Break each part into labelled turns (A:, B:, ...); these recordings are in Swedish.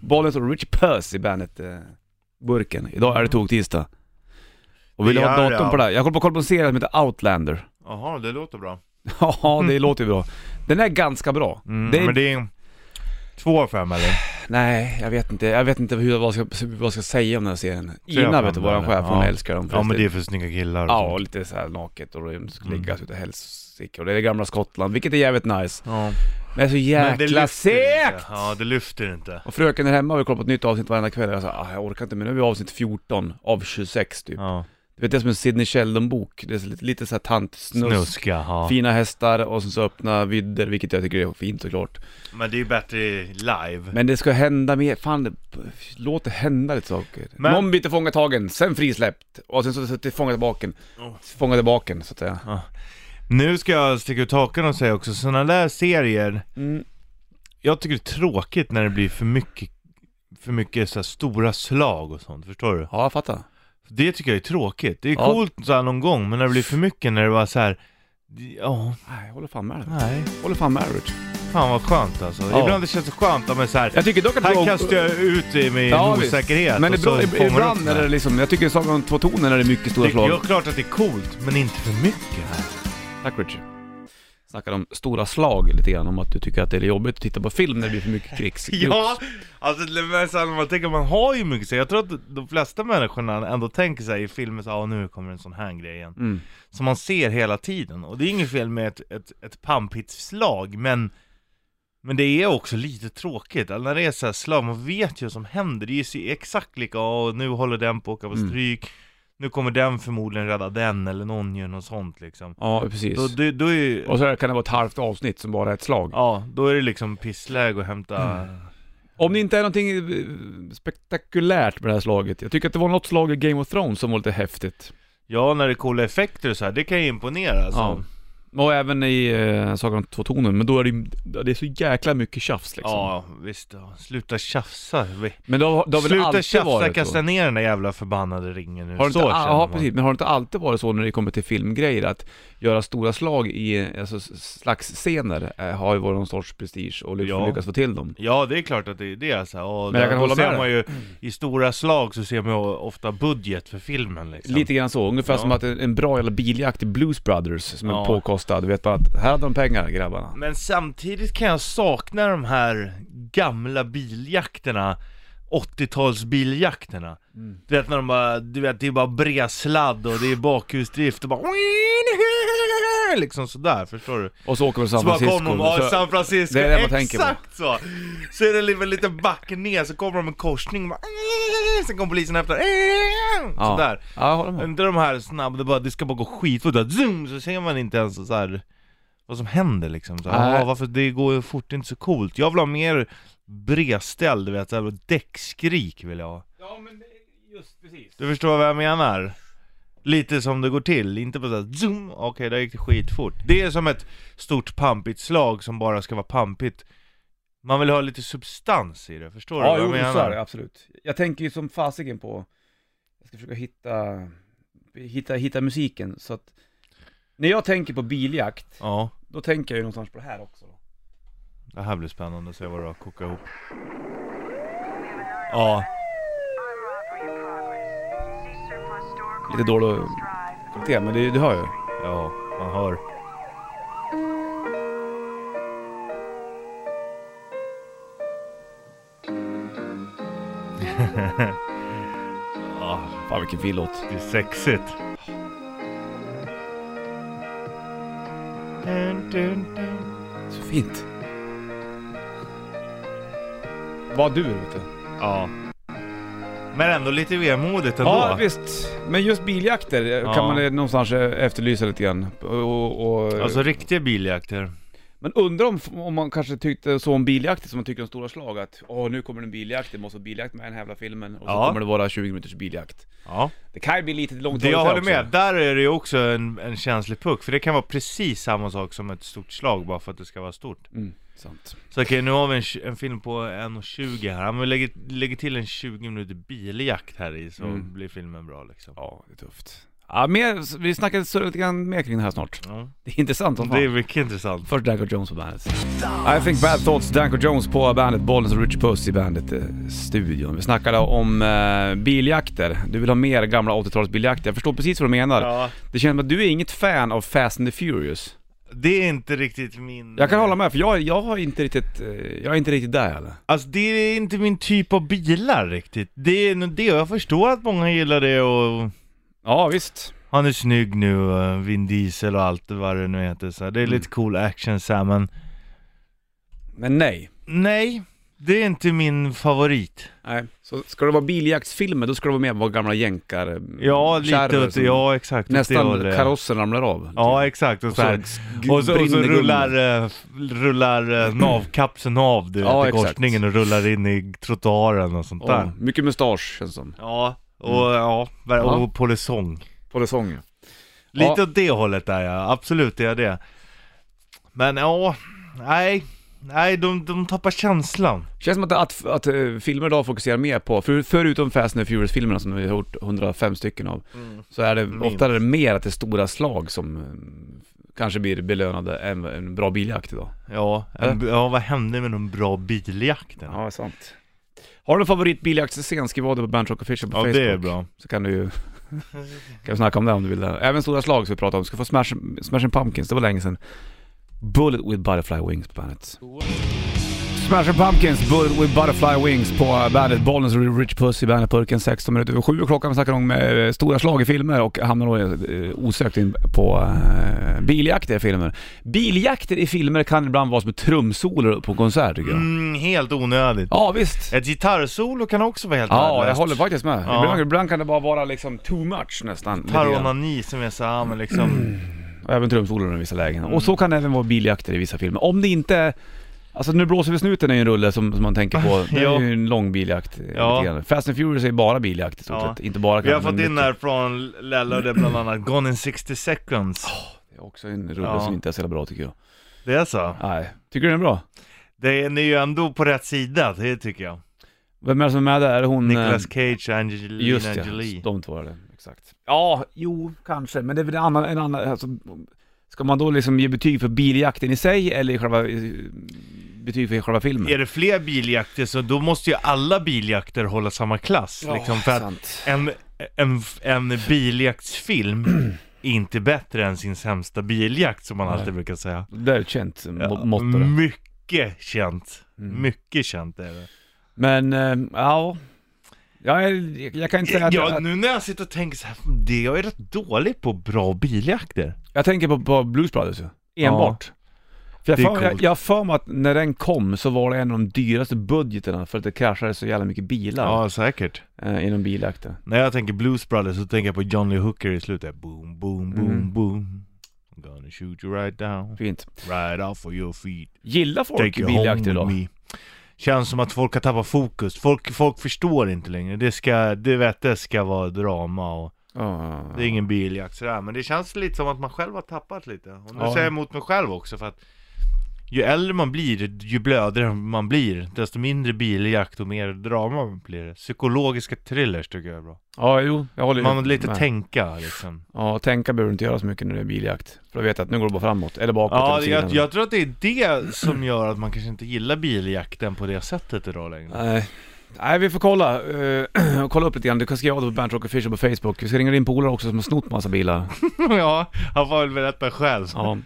A: Bollen står Rich Puss i Bandet-burken. Idag är det toktisdag. Och vill
B: Mm. Det
A: du ha
B: gör
A: datum
B: det,
A: på
B: ja.
A: det här? Jag kollar på- kollar på en serie som heter Outlander.
B: Jaha, det låter bra.
A: Ja, det låter ju bra. Den är ganska bra.
B: Mm,
A: Det är-
B: Men det är två av fem eller?
A: Nej, jag vet inte. Jag vet inte hur, vad, jag ska, vad jag ska säga om den här serien.
B: Tre av
A: Ina
B: fem
A: vet du, våran
B: där.
A: chef, hon
B: Ja.
A: älskar dem.
B: Ja men det
A: förresten.
B: är för snygga killar och
A: Ja,
B: sånt.
A: och lite så här naket och de ska
B: Mm.
A: liggas ute helsike. Och det är det gamla Skottland, vilket är jävligt nice.
B: ja.
A: Men det är så
B: Men det
A: jäkla
B: lyfter inte.
A: segt!
B: Ja, det lyfter inte.
A: Och fröken är hemma och vi kollar på ett nytt avsnitt varenda kväll. Jag sa, ah, jag orkar inte, men nu är vi i avsnitt 14 av 26 typ.
B: Ja.
A: Du vet, det är som en Sidney Sheldon-bok. Det är så lite, lite så här tantsnusk.
B: Snuska, ja.
A: Fina hästar och sen så öppna vidder, vilket jag tycker är fint såklart.
B: Men det är ju bättre live.
A: Men det ska hända mer, fan det, låt det hända lite saker.
B: Men-
A: Någon blir fånga tagen, sen frisläppt och sen så sitter fånga tillbaka.
B: Ja.
A: Fånga tillbaka så att säga.
B: Nu ska jag sticka ut hakan och säga också, sådana där serier,
A: Mm.
B: jag tycker det är tråkigt när det blir för mycket, för mycket så här stora slag och sånt, förstår du?
A: Ja, jag fattar.
B: Det tycker jag är tråkigt. Det är
A: Ja.
B: coolt så här någon gång, men när det blir för mycket, när det var så här. ja,
A: Nej, jag håller fan med dig.
B: nej.
A: Jag Håller fan med dig Rich.
B: Fan vad skönt alltså.
A: Ja.
B: Ibland det känns så skönt, ja, men så här,
A: Jag tycker dock att
B: här
A: Rogue-
B: kastar jag ut i min
A: Ja, visst.
B: osäkerhet
A: Men
B: och så
A: ibland,
B: fångar upp
A: ibland
B: det
A: är
B: här.
A: det liksom, jag tycker Sagan om två toner är det mycket stora
B: Det
A: slag.
B: är klart att det är coolt, men inte för mycket här.
A: Tack Rich. Snackar om stora slag lite grann, om att du tycker att det är jobbigt att titta på film när det blir för mycket krigs.
B: Ja, alltså det är så här, när man tänker man har ju mycket så jag tror att de flesta människorna ändå tänker sig i filmer så här, "Ah, nu kommer en sån här grej igen.
A: Mm.
B: Som man ser hela tiden, och det är inget fel med ett, ett, ett pampigt slag, men men det är också lite tråkigt, alltså, när det är så här slag, man vet ju vad som händer, det är ju så- exakt lika, och nu håller den på att åka på
A: Mm.
B: stryk, nu kommer den förmodligen rädda den, eller någon gör något sånt liksom.
A: Ja, precis.
B: Då, då, då är ju,
A: Och så kan det vara ett halvt avsnitt som bara är ett slag.
B: ja, då är det liksom pissläge att hämta
A: Mm. Om det inte är någonting eh, spektakulärt med det här slaget. Jag tycker att det var något slag i Game of Thrones som var lite häftigt.
B: Ja, när det är coola effekter och så här, det kan ju imponera alltså.
A: Ja. Och även i eh, Sagan om två tonen, men då är det, ju- det är så jäkla mycket tjafs liksom.
B: Ja, visst. Ja. Sluta tjafsa. Vi-
A: Men det har, det har väl
B: Sluta
A: alltid
B: tjafsa,
A: varit
B: kasta
A: så?
B: ner den där jävla förbannade ringen nu.
A: Har det inte,
B: så
A: ah,
B: känner
A: ja,
B: man.
A: precis. Men har det inte alltid varit så när det kommer till filmgrejer att göra stora slag i eh, alltså, s- slags scener eh, har ju varit någon sorts prestige och liksom
B: Ja.
A: lyckas få till dem.
B: Ja, det är klart att det är det alltså. Och
A: Men jag
B: där-
A: kan
B: då
A: hålla
B: ser
A: med
B: man
A: dig. Mm.
B: ju, I stora slag så ser man ju ofta budget för filmen liksom.
A: Lite grann så, ungefär
B: Ja.
A: som att en en bra jävla biljakt i Blues Brothers som
B: Ja.
A: är påkostad. Du vet bara att här hade de pengar grabbarna.
B: Men samtidigt kan jag sakna de här gamla biljakterna 80-talsbiljakterna
A: Mm.
B: Du vet när de bara, du vet det är bara bredsladd och det är bakhusdrift och bara Liksom sådär, förstår du?
A: Och så åker de till
B: Så
A: San
B: bara
A: Francisco.
B: kommer de, ja
A: så-
B: San Francisco,
A: det är det man tänker på.
B: exakt så! Så är det liksom en liten backe ner, så kommer de en korsning bara, "Äh!" Sen kommer polisen efter,
A: ja.
B: sådär
A: Ja, jag håller med.
B: Inte de här snabba, det, bara, det ska bara gå skitfort, bara zoom, så ser man inte ens så här vad som händer liksom. Så, här,
A: Nej.
B: "Ah, varför det går ju fort, det är inte så coolt. Jag vill ha mer bredställ, du vet, så här, däckskrik vill jag ha.
A: Ja, men just precis.
B: Du förstår vad jag menar? Lite som det går till, inte på såhär zoom, okej där gick det skitfort. Det är som ett stort pampigt slag som bara ska vara pampigt. Man vill ha lite substans i det, förstår
A: Ja,
B: du
A: jo,
B: vad
A: så
B: jag
A: är
B: menar?
A: det absolut. Jag tänker ju som fasiken på, jag ska försöka hitta, hitta, hitta musiken, så att när jag tänker på biljakt,
B: Ja,
A: då tänker jag ju någonstans på det här också. Då.
B: det här blir spännande att se vad du har kokat ihop. Ja,
A: Lite dålig kvalitet, men det, det hör jag ju.
B: ja, man hör. ja,
A: Fan vilken fin låt.
B: Det är sexigt.
A: Så fint. Vad du vet du.
B: Ja. Men ändå lite vemodigt ändå.
A: Ja visst, men just biljakter eh,
B: Ja.
A: kan man eh, någonstans eh, efterlysa lite grann. Och, och, och,
B: Alltså riktiga biljakter.
A: Men undrar om, om man kanske tyckte så om biljakter som man tycker om stora slag att Åh nu kommer det en biljakt, det måste vara biljakt med den här jävla filmen och så
B: Ja.
A: kommer det vara 20 minuters biljakt
B: Ja.
A: Det kan ju bli lite långt
B: Det jag
A: åt
B: håller
A: också.
B: med, där är det ju också en, en känslig puck. För det kan vara precis samma sak som ett stort slag bara för att det ska vara stort.
A: Mm, sant
B: Så okej, nu har vi en, tj- en film på 1.20 här. Ja, Men lägger, lägger till en 20 minuter biljakt här i så
A: Mm.
B: blir filmen bra liksom.
A: Ja, det är tufft Ja, mer, vi snackar surra lite grann mer kring det här snart.
B: Ja.
A: Det är intressant som
B: Det är
A: fan.
B: mycket intressant.
A: Först Danko Jones på bandet. I think bad thoughts, Danko Jones på bandet, Bollens och Rich Puss i bandet-studion. Vi snackade om eh, biljakter. Du vill ha mer gamla 80-tals biljakter. Jag förstår precis vad du menar.
B: Ja,
A: Det känns som att du är inget fan av Fast and the Furious.
B: det är inte riktigt min...
A: Jag kan hålla med, för jag, jag har inte riktigt, eh, jag är inte riktigt där heller.
B: Alltså det är inte min typ av bilar riktigt. Det är nog det, och jag förstår att många gillar det och
A: Ja, visst.
B: han är snygg nu, och Vin Diesel och allt vad det nu heter så här. Det är
A: Mm.
B: lite cool action så här, men
A: Men nej.
B: nej, det är inte min favorit.
A: Nej. Så ska det vara biljaktsfilmer, då ska det vara mer vad gamla jänkar eh,
B: Ja,
A: kärror
B: lite åt,
A: som
B: ja exakt. åt det
A: Nästan typ.
B: hållet.
A: karossen ramlar av.
B: Ja exakt, och så, här.
A: gu-
B: Och så, och så
A: brinner gummi.
B: rullar, eh, f- rullar eh, navkapseln av du
A: Mm. Ja,
B: vet, i
A: exakt.
B: korsningen och rullar in i trottoaren och sånt
A: Ja,
B: där.
A: mycket mustasch känns som.
B: Ja, och ja, ver-
A: Mm. Ja.
B: och polisong.
A: Polisong.
B: Lite
A: Ja.
B: åt det hållet där ja, absolut är jag det. Men ja, nej, nej de, de tappar känslan.
A: Känns som att, att, att eh, filmer idag fokuserar mer på, för, förutom Fast and the Furious-filmerna som vi har gjort 105 stycken av, så är det
B: Minst.
A: oftare mer att det är stora slag som eh, kanske blir belönade än en bra biljakt idag.
B: Ja,
A: Äh.
B: en, ja, vad hände med de bra biljakterna? Ja,
A: sant. Har du en favoritbiljaktsscen, skriv av det på Bandrock Official på Facebook.
B: det är bra.
A: Så kan du ju, kan vi snacka om det om du vill. Även Stora Slag som vi pratade om, ska få Smash, Smashing Pumpkins, det var länge sedan. Bullet with Butterfly Wings på bandet. Smashing Pumpkins, Bullet with Butterfly Wings på bandet. Bollnäs och Rich Puss i bandetburken 16 minuter över 7 klockan. Vi snackar om eh, stora slag i filmer och hamnar då eh, osökt in på eh, biljakter i filmer. Biljakter i filmer kan ibland vara som trumsolor på konsert tycker jag.
B: Mm, helt onödigt.
A: Ja visst.
B: Ett gitarrsolo kan också vara helt
A: Ja, jag
B: värdelöst.
A: håller faktiskt med.
B: Ja.
A: Ibland, ibland kan det bara vara liksom too much nästan. lite grann.
B: Taronani som är såhär, men liksom...
A: Mm. Och även trumsolon i vissa lägen. Och
B: Mm.
A: så kan det även vara biljakter i vissa filmer. Om det inte är... Alltså nu blåser vi snuten är ju en rulle som, som man tänker på. Det är
B: Ja.
A: ju en lång biljakt. eh,
B: Ja.
A: lite grann. Fast and Furious är ju bara biljakt i stort
B: Ja.
A: sett. Inte bara
B: Vi har
A: kanske, men
B: fått in
A: mycket.
B: här från Lella och det är bland annat Gone in 60 seconds.
A: Det är också en rulle
B: Ja.
A: som inte är så jävla bra tycker jag.
B: Det är så.
A: Nej. Tycker du den är bra?
B: Det är ni är ju ändå på rätt sida, det tycker jag.
A: Vem är det som är med där? Är det hon...
B: Nicolas
A: eh,
B: Cage och Angelina
A: Just ja,
B: Jolie.
A: de två är det. Exakt. Ja, jo, kanske. Men det är väl en annan... En annan alltså, ska man då liksom ge betyg för biljakten i sig eller själva... eh, Betyg för själva filmen?
B: Är det fler biljakter så då måste ju alla biljakter hålla samma klass. liksom, för att
A: sant.
B: en, en, en biljaktsfilm är inte bättre än sin sämsta biljakt som man
A: Nej.
B: alltid brukar säga.
A: Det är ett känt ja,
B: Ja, Mm.
A: motto det.
B: mycket känt.
A: Mm.
B: Mycket känt är det.
A: Men, eh, ja. Jag, är- jag kan inte säga att...
B: Ja,
A: jag,
B: nu när jag sitter och tänker så här, det, jag är rätt dålig på bra biljakter.
A: jag tänker på, på Blues Brothers ju. Enbart. För jag för,
B: det är
A: jag,
B: coolt.
A: jag har för mig att när den kom så var det en av de dyraste budgeterna för att det kraschade så jävla mycket bilar
B: Ja, säkert.
A: eh, inom biljakten.
B: När jag tänker Blues Brothers så tänker jag på Johnny Hooker i slutet. Boom, boom, boom,
A: Mm.
B: boom. I'm gonna shoot you right down,
A: Fint.
B: right off of your feet.
A: Gillar folk
B: Take you home
A: biljakter
B: with
A: idag?
B: me. Känns som att folk har tappat fokus. Folk, folk förstår inte längre. Det ska, det vet det ska vara drama och
A: Ja.
B: det är ingen biljakt sådär. Men det känns lite som att man själv har tappat lite. Och nu
A: Ja.
B: säger jag emot mig själv också för att ju äldre man blir, ju blödigare man blir, desto mindre biljakt och mer drama blir det. Psykologiska thrillers tycker jag är bra.
A: Ja, jo, jag håller
B: Man måste lite
A: med.
B: tänka liksom.
A: Ja, tänka behöver du inte göra så mycket när det är biljakt. För då vet jag att nu går det bara framåt, eller bakåt,
B: Ja,
A: eller
B: jag,
A: sidan.
B: jag tror att det är det som gör att man kanske inte gillar biljakten på det sättet idag längre.
A: Nej. Nej, vi får kolla. eh, och kolla upp lite grann. Du kan skriva av det på Bernt Rock Official på Facebook. Vi ska ringa din polare också som har snott massa bilar.
B: ja, han får väl berätta själv.
A: Ja.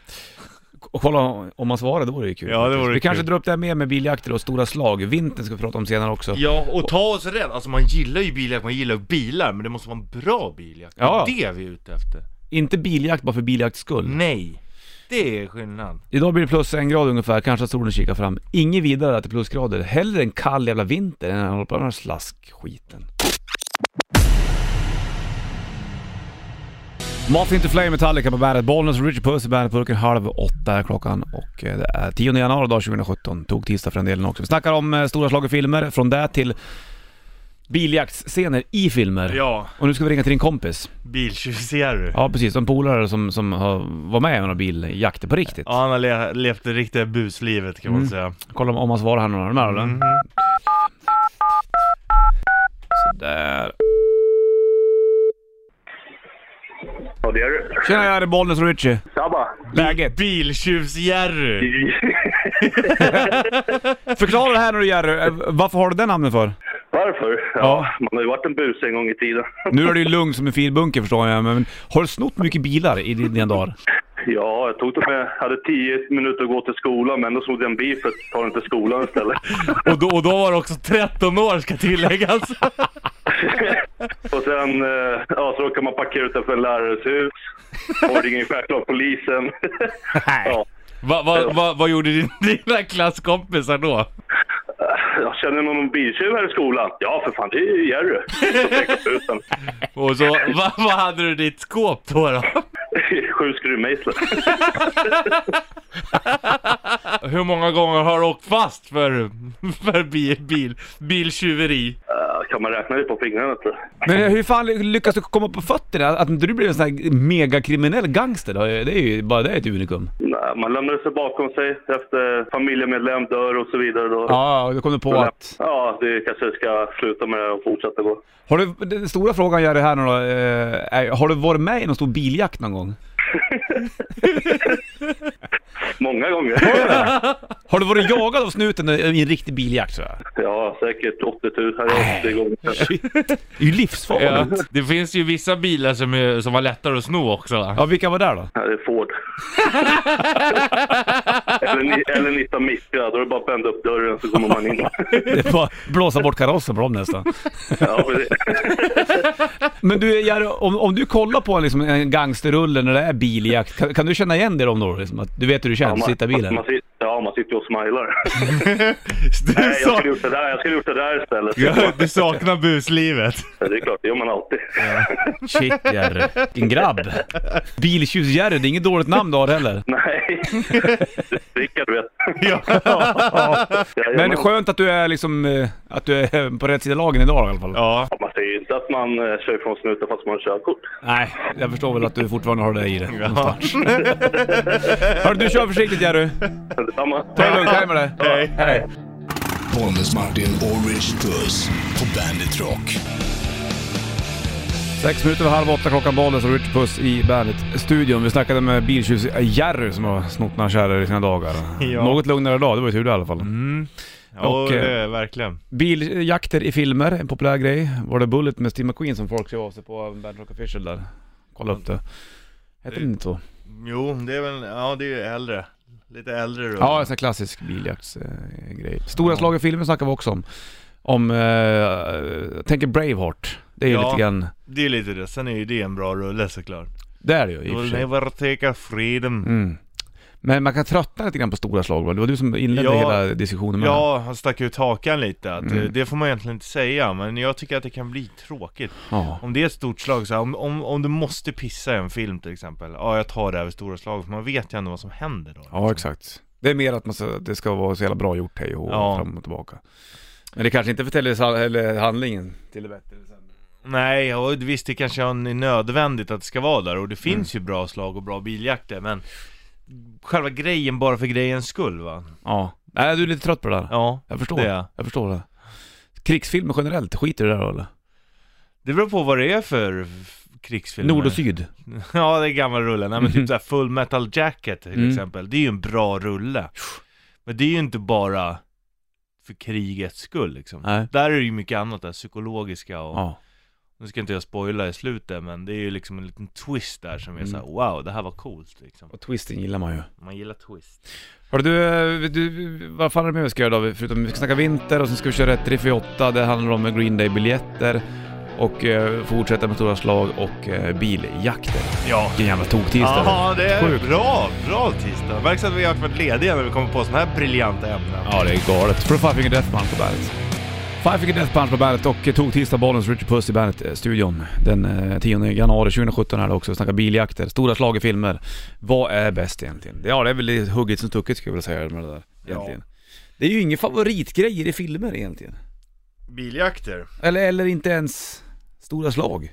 A: Och kolla om man svarar, det vore ju kul.
B: Ja, det
A: faktiskt.
B: vore
A: vi
B: kul.
A: kanske drar upp det här med, med biljakter och stora slag. Vintern ska vi prata om senare också.
B: Ja, och ta oss rätt. Alltså man gillar ju biljakt, man gillar ju bilar, men det måste vara en bra biljakt.
A: Ja.
B: Det är det vi är ute efter.
A: Inte biljakt bara för biljakts
B: Mm.
A: skull.
B: Nej, det är skillnad.
A: Idag blir det plus en grad ungefär, kanske att solen kikar fram. Inget vidare att det är plusgrader. Hellre en kall jävla vinter än att hålla på med den här slaskskiten. Moth Into Flame Metallica på bandet Bollnäs och Richard Puss i bandetburken halv åtta är klockan och eh, det är 10 januari dag 2017, tog tisdag för den delen också. Vi snackar om eh, stora slag i filmer, från det till biljaktsscener i filmer.
B: Ja,
A: Och nu ska vi ringa till din kompis.
B: biltjuv ser du. Ja.
A: Ja precis, en polare som, som har, var med i några biljakter på riktigt.
B: han har le- levt det riktiga buslivet kan
A: Mm.
B: man säga.
A: Kolla om, om han svarar här nu. Är du med eller?
B: Mm.
A: Där. Tjena jag är Bollnäs och Richie.
C: Tjabba!
A: Läget?
B: Biltjuvs-Jerry!
A: Förklara det här nu Jerry. Eh, Varför har du det namnet för?
C: Varför? Ja,
A: Ja.
C: man har ju varit en bus en gång i tiden.
A: Nu är du ju lugn som en fin bunker förstår jag, men har du snott mycket bilar i din- dina dagar?
C: Ja, jag tog det med. hade tio minuter att gå till skolan, men då snodde jag en bil för att ta den till skolan istället.
B: Och då, och då var det också 13 år ska tilläggas.
C: Och sen, eh, ja, så råkade man parkera utanför en lärares hus. Och ringer självklart polisen. Ja,
B: Vad va, va, vad gjorde din, dina klasskompisar då?
C: jag känner någon biltjuv här i skolan? Ja, för fan, det är ju Jerry. Så pekar jag ut den.
B: Och så, va, vad hade du i ditt skåp då? då?
C: Sju skruvmejslar.
B: Hur många gånger har du åkt fast för, för bil, bil, biltjuveri?
C: Eh, Kan man räkna det på fingrarna, tror jag.
A: Men hur fan lyckas du komma på fötterna? Att inte du blev en sån här megakriminell gangster, då? det är ju bara det är ett unikum.
C: Nej, Man lämnade sig bakom sig efter familjemedlem dör och så vidare. Då.
A: Ja, då kom du på att...
C: Ja, det kanske ska sluta med och fortsätta gå.
A: Har du, den stora frågan Jerry här nu då, eh, är, har du varit med i någon stor biljakt någon gång?
C: Många gånger.
A: Har du varit jagad av snuten i en riktig biljakt? Så? här?
C: Ja, säkert 80 000. Här är 80 gånger.
A: Shit. Det är ju
B: Ja,
A: livsfarligt.
B: det finns ju vissa bilar som, är, som var lättare att sno också. va?
A: Ja, vilka var där då?
C: Här är Ford. eller, ni, eller Nita Micra. Då är det bara att bända upp dörren så kommer man in.
A: Det var blåsa bort karossen på dem nästan.
C: ja, precis.
A: Men du Jerry, om, om du kollar på en, liksom, en gangsterrulle när det är biljakt, kan, kan du känna igen dig i dem då? Liksom, att du vet hur det
C: Ja,
A: känns att
C: man,
A: sitta i bilen?
C: Man, sit- ja, man sitter ju och smilar.
B: Du,
C: Nej, jag
B: sak-
C: skulle gjort det där, jag skulle gjort det där istället.
B: Ja, du saknar buslivet.
C: Det är klart, det gör man alltid.
A: Shit Jerry, vilken grabb. Biltjuvs-Jerry, det är inget dåligt namn du har heller.
C: Nej. Rickard vet.
B: Ja.
C: Jajamän.
A: Men skönt att du är liksom, eh, att du är på rätt sida lagen idag i alla fall.
B: Ja.
C: Man säger ju inte att man eh, kör ifrån snuten fast man har körkort.
A: Nej, jag förstår väl att du fortfarande har det i dig någonstans. Hörru du, kör försiktigt Jerry.
C: Detsamma.
A: Ta det lugnt, hej med dig.
B: Hej.
A: Hej.
D: Bollnäs Martin och Rich Puss på Bandit Rock.
A: Sex minuter över halv åtta klockan Bollnäs och Rich Puss i Bandet-studion. Vi snackade med biltjuvs-Jerry som har snott några kärror i sina dagar.
B: Ja. Mm.
A: Något lugnare idag, det var ju tur det i alla fall.
B: Ja,
A: Och,
B: det
A: eh,
B: är verkligen.
A: Biljakter i filmer, en populär grej. Var det Bullet med Steve McQueen som folk skrev av sig på Band Rock Official där? Kolla upp det. Hette det inte så?
B: Jo, det är väl, ja det är ju äldre. Lite äldre då.
A: Ja, en sån här klassisk biljaktsgrej. Stora slag i filmer snackar vi också om. Om, eh, jag tänker Braveheart. Det är ju
B: Ja.
A: lite grann,
B: Det är lite det. Sen är ju det en bra rulle såklart.
A: det är det ju i och för
B: You'll
A: sig.
B: never take a freedom.
A: Mm. Men man kan tröttna lite grann på stora slag va? Det var du som inledde
B: Ja.
A: hela diskussionen med
B: Ja, han stack ut hakan lite. Att, eh,
A: Mm.
B: Det får man egentligen inte säga, men jag tycker att det kan bli tråkigt.
A: det. Ja.
B: Om det är ett stort slag, så här, om, om, om du måste pissa i en film till exempel. Ja, jag tar det över stora slag, för man vet ju ändå vad som händer då.
A: ja, exakt. Det är mer att man ska, det ska vara så jävla bra gjort hej och hå,
B: Ja.
A: fram och tillbaka. Men det kanske inte förtäljer sa- eller handlingen till det bättre. eller sämre.
B: Nej, och visst det kanske är nödvändigt att det ska vara där och det
A: Mm.
B: finns ju bra slag och bra biljakter men Själva grejen bara för grejens skull va?
A: Ja. Nej, du är lite trött på det där.
B: Ja,
A: Jag förstår.
B: det är jag.
A: Jag förstår det. Krigsfilmer generellt, skiter du i det där eller?
B: Det beror på vad det är för f- krigsfilmer
A: Nord och syd.
B: Ja, det är gamla rullar. Nej men typ såhär Full Metal Jacket till
A: Mm.
B: exempel, det är ju en bra rulle Men det är ju inte bara för krigets skull liksom
A: Nej.
B: Där är det ju mycket annat, där psykologiska och
A: Ja.
B: Nu ska inte jag spoila i slutet men det är ju liksom en liten twist där som är
A: Mm.
B: såhär wow, det här var coolt liksom
A: Och twisten gillar man ju.
B: Man gillar twist
A: Hörru du, eh, du, vad fan är det mer vi ska göra idag? Förutom vi ska snacka vinter och sen ska vi köra ett riff i åtta. Det handlar om Green Day-biljetter och eh, fortsätta med stora slag och eh, biljakter.
B: Ja,
A: Vilken jävla toktisdag.
B: Ja, det är
A: Sjukt.
B: bra, bra tisdag. Märks att vi har varit lediga när vi kommer på sådana här briljanta ämnen.
A: Ja, det är galet. Från Five Finger Death Punch på bandet. Five Finger Death Punch på bandet och eh, tog tisdag bollens Richard Puss i bandet-studion. Den eh, 10 januari 2017 är det också. Vi snackar biljakter, stora slag i filmer. Vad är bäst egentligen? Ja, det är väl lite hugget som stucket skulle jag vilja säga med det där egentligen. Det är ju inga favoritgrejer i filmer egentligen.
B: Biljakter?
A: Eller, eller inte ens stora slag.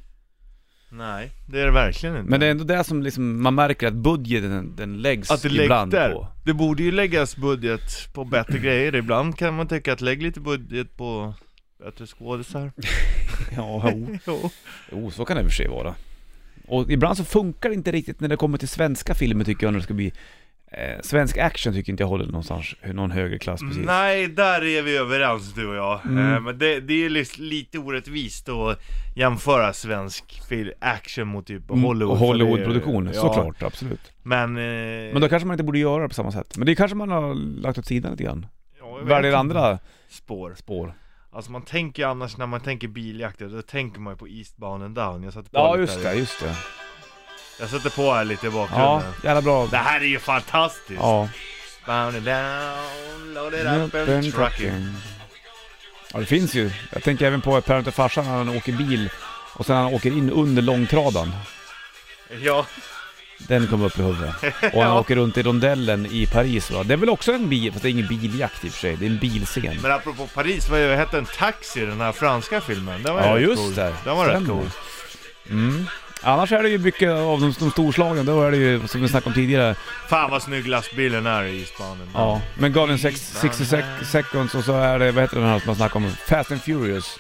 B: Nej, det är det verkligen inte.
A: Men det är ändå det som liksom, man märker att budgeten den läggs
B: att det läggs
A: ibland
B: där.
A: på.
B: Det borde ju läggas budget på bättre grejer. Ibland kan man tycka att lägg lite budget på bättre skådisar.
A: Ja, jo.
B: Jo.
A: jo, så kan det i och för sig vara. Och ibland så funkar det inte riktigt när det kommer till svenska filmer tycker jag när det ska bli eh, Svensk action tycker inte jag håller någonstans, någon högre klass precis.
B: Nej, där är vi överens du och jag. Eh, Men det, det är li- lite orättvist att jämföra svensk fil- action mot typ
A: Mm,
B: Hollywood.
A: och
B: för det är-
A: Hollywoodproduktioner,
B: ja,
A: såklart, absolut.
B: Men... eh,
A: Men då kanske man inte borde göra det på samma sätt. Men det kanske man har lagt åt sidan lite grann.
B: ja, jag vet
A: Väljer
B: inte.
A: andra
B: Spår.
A: spår.
B: Alltså man tänker annars när man tänker biljakter, då tänker man ju på Eastbound and Down. Jag satte på
A: Ja
B: lite
A: just
B: här.
A: det, just det.
B: Jag satte på här lite i
A: Ja,
B: bakgrunden.
A: jävla bra.
B: Det här är ju fantastiskt!
A: Ja.
B: Bound and down, loaded up and
A: Öppen
B: trucking.
A: trucking. Ja det finns ju. Jag tänker även på Parent och farsan när han åker bil och sen när han åker in under långtradan.
B: Ja,
A: Den kom upp i huvudet. Och han åker runt i rondellen i Paris va. Det är väl också en bil, fast det är ingen biljakt i och för sig. Det är en bilscen.
B: men apropå Paris, vad hette en taxi den här franska filmen? Den var ju
A: Ja
B: rätt
A: just
B: cool.
A: det.
B: Den var rätt
A: Stämmer.
B: cool.
A: Mm. Annars är det ju mycket av de, de storslagen. Då är det ju, som vi snackade om tidigare,
B: Fan vad snygg lastbilen är i Spanien.
A: Ja, men Garden 60 sec- Seconds och så är det, vad heter den här som man snackade om, Fast and Furious.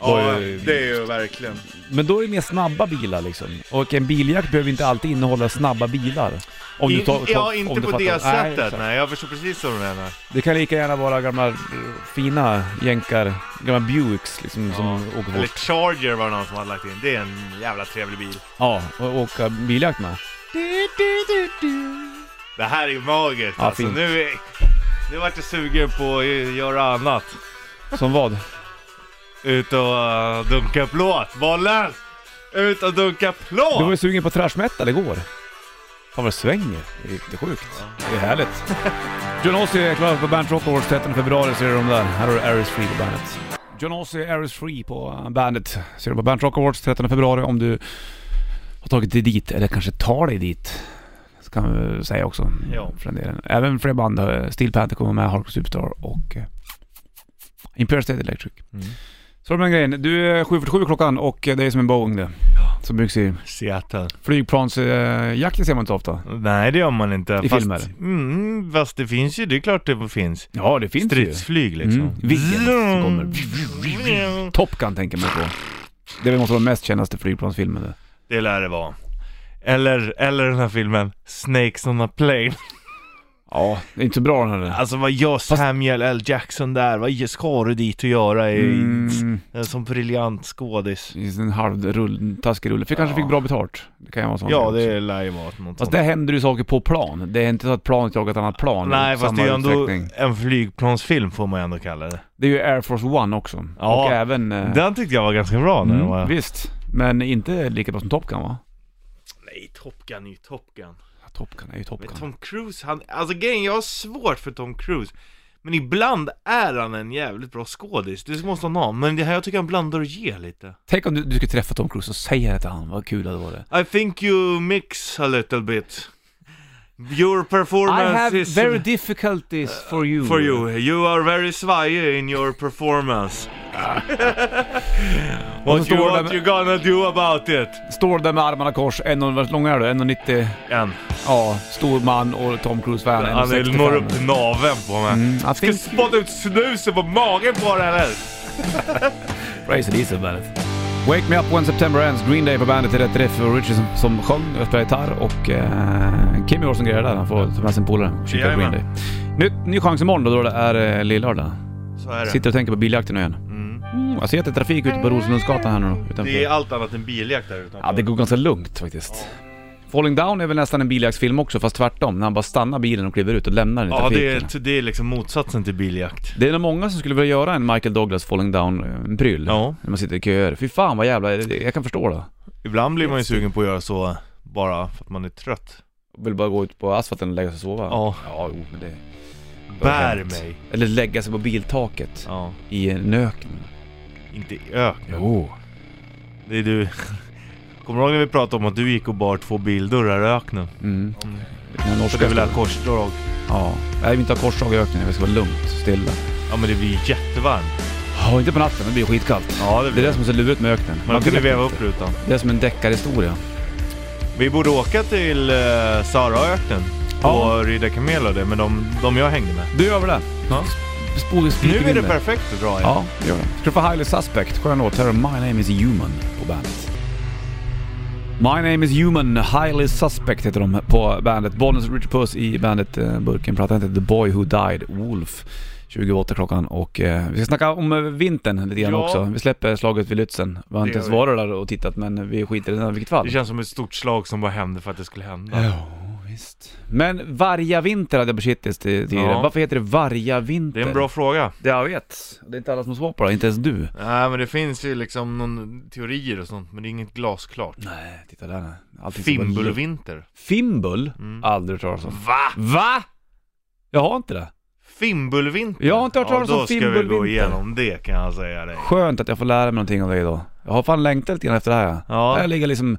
B: ja
A: Och, eh,
B: det är ju verkligen.
A: Men då är det mer snabba bilar liksom. Och en biljakt behöver inte alltid innehålla snabba bilar. Om
B: I-
A: du tar-
B: ja,
A: om
B: inte
A: du
B: på
A: fattar.
B: det
A: Nej,
B: sättet. Nej,
A: exakt.
B: jag förstår precis vad du menar.
A: Det kan lika gärna vara gamla eh, fina jänkar, gamla Buicks liksom som
B: Ja.
A: åker
B: Eller
A: fort.
B: Charger var det någon som hade lagt in. Det är en jävla trevlig bil.
A: Ja, och åka biljakt med.
B: Det här är ju magiskt
A: Ja,
B: alltså.
A: fint.
B: Nu, är- nu vart jag sugen på att göra annat.
A: Som vad?
B: Ut och eh, dunka plåt. Bollen! Ut och dunka plåt!
A: Du var ju sugen på trash metal igår. Fan vad det svänger. Det är riktigt sjukt. Det är härligt. John Ossie är klar på Bandet Rock Awards 13 februari. Ser du dem där? Här har du Aris Free på bandet. John Ossie, Aris Free på eh, bandet. Ser du på Bandet Rock Awards 13 februari om du har tagit dig dit, eller kanske tar dig dit. Så kan vi väl säga också.
B: Ja.
A: För den delen. Även fler band. eh, Steel Panther kommer med, Hardcore Superstar och eh, Imperial State Electric. Så det är den grejen. Du är 7.47 klockan och eh, det är som en Boeing det. Som byggs i
B: Seattle.
A: Flygplansjakter ser man inte ofta.
B: Nej, det gör man inte.
A: I
B: fast,
A: filmer.
B: Mm, fast det finns ju. Det är klart det finns.
A: Ja, det finns
B: Stridsflyg liksom.
A: Mm. Viggen
B: Zoom.
A: kommer. Top Gun tänker man på. Det måste vara den mest kändaste flygplansfilmen. det.
B: Det lär det vara. Eller, eller den här filmen Snakes on a plane.
A: Ja, det är inte så bra den här.
B: Alltså vad gör Samuel L. Jackson där? Vad ska du dit och göra i,
A: Mm,
B: en sån briljant skådis?
A: i en halv rull, taskig rulle. Fick, Kanske fick bra betalt. Det kan ju vara sånt.
B: Ja, det lär ju vara något
A: Fast
B: sånt.
A: där händer ju saker på plan. Det är inte så att planet jagar ett annat plan
B: Nej,
A: i
B: fast
A: samma
B: det är ju ändå
A: utsträckning.
B: en flygplansfilm får man ju ändå kalla det.
A: Det är ju Air Force One också.
B: Ja.
A: Och även... eh,
B: Den tyckte jag var ganska bra när den
A: mm,
B: var...
A: visst. Men inte lika bra som Top Gun va?
B: Nej, Top Gun är ju Top Gun.
A: Ja, Top Gun är ju Top
B: Men
A: Gun.
B: Tom Cruise, han... Alltså grejen, jag har svårt för Tom Cruise. Men ibland är han en jävligt bra skådis, det måste han ha. Men det här, jag tycker han blandar och ger lite.
A: Tänk om du, du skulle träffa Tom Cruise och säga det till han, vad kul det hade varit.
B: I think you mix a little bit. Your
A: I
B: performance
A: have
B: is
A: very difficulties for you.
B: for you.
A: Mm.
B: You are very svajig in your performance.
A: Och så
B: what you,
A: står det
B: what
A: med-
B: you gonna do about it?
A: Står där med armarna kors, en och, vad lång är du? 1,90?
B: En.
A: Ja, stor man och Tom Cruise vad är han?
B: Han är-
A: 1,65.
B: når upp till naveln på mig.
A: Mm, I
B: Ska
A: think
B: spotta ut snusen på magen på den eller?
A: Praise Elisa bandet. Wake Me Up When September Ends, Green Day på bandet är rätt riff och Richie som, som sjöng och spelade gitarr och eh, Kimmy var som grejade där. Han får ta med sin polare och kika på Green
B: Jajamän.
A: Day. Nytt, ny chans imorgon då, då det är eh, lillördag.
B: Så är det.
A: Sitter och tänker på biljakten nu igen. Mm, jag ser att det är trafik ute på Rosenlundsgatan här nu då, utanför.
B: Det är allt annat än biljakt där utanför.
A: Ja, det går ganska lugnt faktiskt. Falling Down är väl nästan en biljaktsfilm också, fast tvärtom. När han bara stannar bilen och kliver ut och lämnar den i
B: Ja, det
A: trafiken.
B: är, det är liksom motsatsen till biljakt.
A: Det är nog många som skulle vilja göra en Michael Douglas Falling Down-pryl.
B: Ja.
A: När man sitter i köer. Fy fan vad jävla... Jag kan förstå det.
B: Ibland blir man ju sugen på att göra så bara för att man är trött.
A: Vill bara gå ut på asfalten och lägga sig och sova.
B: Ja.
A: Ja, jo, men det...
B: Bär mig.
A: Eller lägga sig på biltaket
B: Ja.
A: i en öken.
B: Inte i öknen.
A: Jo.
B: Det är du. Kommer du ihåg när vi pratade om att du gick och bar två bildörrar i öknen?
A: Mm.
B: Mm.
A: Den
B: Så
A: norska
B: du vill ha
A: skolan.
B: korsdrag?
A: Ja. Jag vill inte ha korsdrag i öknen, jag vill ska vara lugnt, stilla.
B: Ja men det blir ju jättevarmt.
A: Ja, inte på natten, det blir skitkallt.
B: Ja det
A: Det är
B: blir
A: det
B: det.
A: som är så lurigt med öknen.
B: Men då kan du
A: vet
B: veva
A: inte.
B: upp rutan.
A: Det är som en deckarhistoria.
B: Vi borde åka till uh, Saharaöknen
A: Ja.
B: och rida kamel och det, men de, de jag hängde med.
A: Du gör väl det?
B: Ja.
A: Spol, spol,
B: Nu är det perfekt att dra i.
A: Ja, det gör det. Ska du få Highly Suspect, skön låt. Här är My Name Is Human på bandet. My name is human, highly suspect heter de på bandet. Bollnäs Richard Puss i bandet eh, Burken. Plattan heter The Boy Who Died, Wolf. 28 klockan och eh, vi ska snacka om eh, vintern lite grann
B: Ja.
A: också. Vi släpper slaget vid Lützen. Vi har
B: Det
A: inte ens
B: gör vi.
A: varit där och tittat men vi skiter i det i vilket fall.
B: Det känns som ett stort slag som bara hände för att det skulle hända.
A: Ja, visst. Men vargavinter hade jag besittit tidigare.
B: Ja.
A: Varför heter det vargavinter?
B: Det är en bra fråga.
A: Det jag vet. Det är inte alla som har svar på det, inte ens du.
B: Nej men det finns ju liksom någon teorier och sånt, men det är inget glasklart.
A: Nej, titta där. Allting ska vara lugnt.
B: Fimbulvinter.
A: Fimbul?
B: Mm.
A: Aldrig hört talas om.
B: Va?
A: Va? Jag har inte det.
B: Fimbulvinter?
A: Jag har inte hört talas om
B: Ja, då ska vi gå
A: fimbulvinter.
B: igenom det kan jag säga dig.
A: Skönt att jag får lära mig någonting av dig idag. Jag har fan längtat lite grann efter det här.
B: Ja.
A: Jag ligger liksom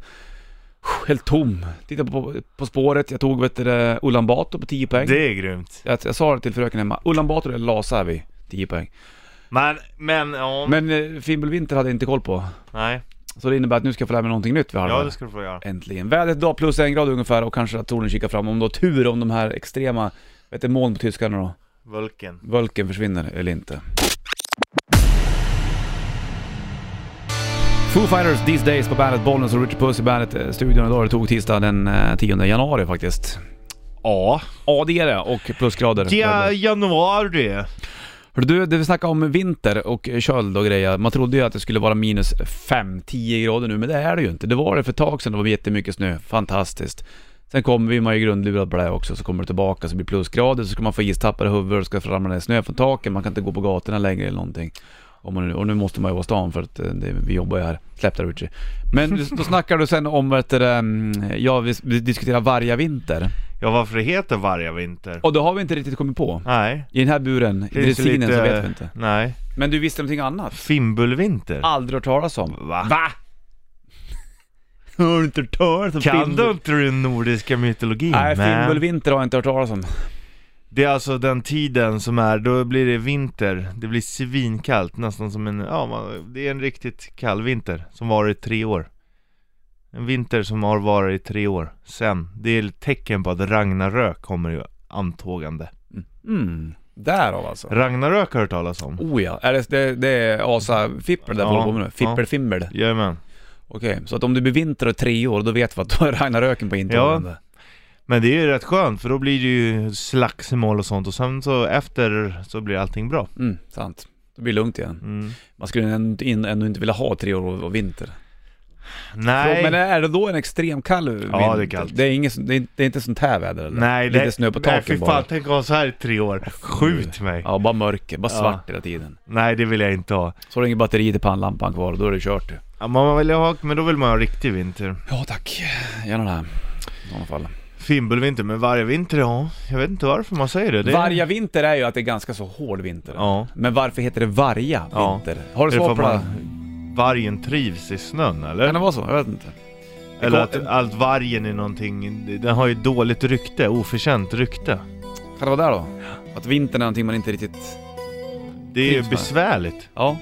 A: helt tom. Tittar på På spåret, jag tog vet du, det, Ulan Bator på 10 poäng.
B: Det är grymt.
A: Jag, jag sa det till fröken hemma, Ulan Bator eller Lhasa är vi, 10 poäng.
B: Men, men, ja.
A: Men eh, Fimbulvinter hade jag inte koll på.
B: Nej.
A: Så det innebär att nu ska jag få lära mig någonting nytt vid halva.
B: Ja det ska du få göra.
A: Äntligen. Vädret idag plus en grad ungefär och kanske att solen kikar fram. Om du har tur om de här extrema, vet du moln på tyskarna då,
B: Vulken.
A: völken försvinner eller inte. Foo Fighters These Days på bandet Bollnäs och Richard Puss i bandet eh, studion idag. Det tog tisdag den eh, 10 januari faktiskt.
B: Ja.
A: Ja det är det och plusgrader.
B: Ja, januari.
A: Hörru du, det vi snackade om vinter och köld och grejer. Man trodde ju att det skulle vara minus 5-10 grader nu, men det är det ju inte. Det var det för ett tag sedan, det var jättemycket snö. Fantastiskt. Sen kommer vi, man är ju grundlurad på det här också, så kommer det tillbaka så blir det plusgrader, så ska man få istappar i huvudet och ska ramla ner snö från taken. Man kan inte gå på gatorna längre eller någonting. Om man nu, och nu måste man ju vara i stan för att eh, det, vi jobbar ju här. Släpp det Richie. Men då snackar du sen om att mm, ja, vi vi diskuterar varje vinter.
B: Ja varför det heter vargavinter?
A: Och det har vi inte riktigt kommit på.
B: Nej.
A: I den här buren, i dressinen, så vet vi inte. Ah,
B: Nej.
A: Men du visste någonting annat?
B: Fimbulvinter.
A: Aldrig hört talas om.
B: Va?
A: Har du inte hört talas om
B: Kan du inte den nordiska mytologin?
A: Nej,
B: man?
A: Fimbulvinter har jag inte hört talas om.
B: Det är alltså den tiden som är, då blir det vinter, det blir svinkallt, nästan som en, ja man- det är en riktigt kall vinter som varar i tre år En vinter som har varit i tre år, sen, det är ett tecken på att Ragnarök kommer ju antågande
A: Mm. Därav alltså.
B: Ragnarök har du hört talas om?
A: Oh ja, är det, det, det är asafippel där
B: Ja,
A: folk på med nu?
B: ja.
A: Fippelfimmel.
B: Jajamän
A: Okej, så att om det blir vinter och tre år, då vet vi att då är Ragnaröken på intågande.
B: Men det är ju rätt skönt för då blir det ju slagsmål och sånt och sen så efter så blir allting bra
A: Mm, sant. Då blir det lugnt igen.
B: mm.
A: Man skulle ändå, in- ändå inte vilja ha tre år och och vinter.
B: Nej
A: Men är det då en extrem kall vinter?
B: Ja, det är kallt.
A: Det är, inget, det är, det är inte sånt här väder eller?
B: Nej,
A: Lite
B: det-
A: snö på
B: Nej,
A: taken
B: fy fan,
A: bara.
B: tänk att ha så här i tre år. Skjut mig.
A: Ja, bara mörker, bara
B: Ja.
A: svart hela tiden.
B: Nej, det vill jag inte ha.
A: Så har du inget batteri till pannlampan kvar, då är det kört.
B: Ja, men man vill ha, men då vill man ha riktig vinter.
A: Ja tack, gärna det här. I alla fall.
B: Fimbulvinter, men varje vinter, ja. Jag vet inte varför man säger det. det
A: Varja vinter är ju att det är ganska så hård vinter.
B: Ja.
A: Men varför heter det varja
B: Ja.
A: vinter? Har du
B: Är det
A: svar
B: för
A: på det?
B: att man, vargen trivs i snön eller?
A: Kan det vara så? Jag vet inte.
B: Eller
A: kom-
B: att, att vargen är någonting, den har ju dåligt rykte, oförtjänt rykte.
A: Kan det vara där då? Att vintern är någonting man inte riktigt...
B: Det är ju
A: Trivs med.
B: besvärligt.
A: Ja.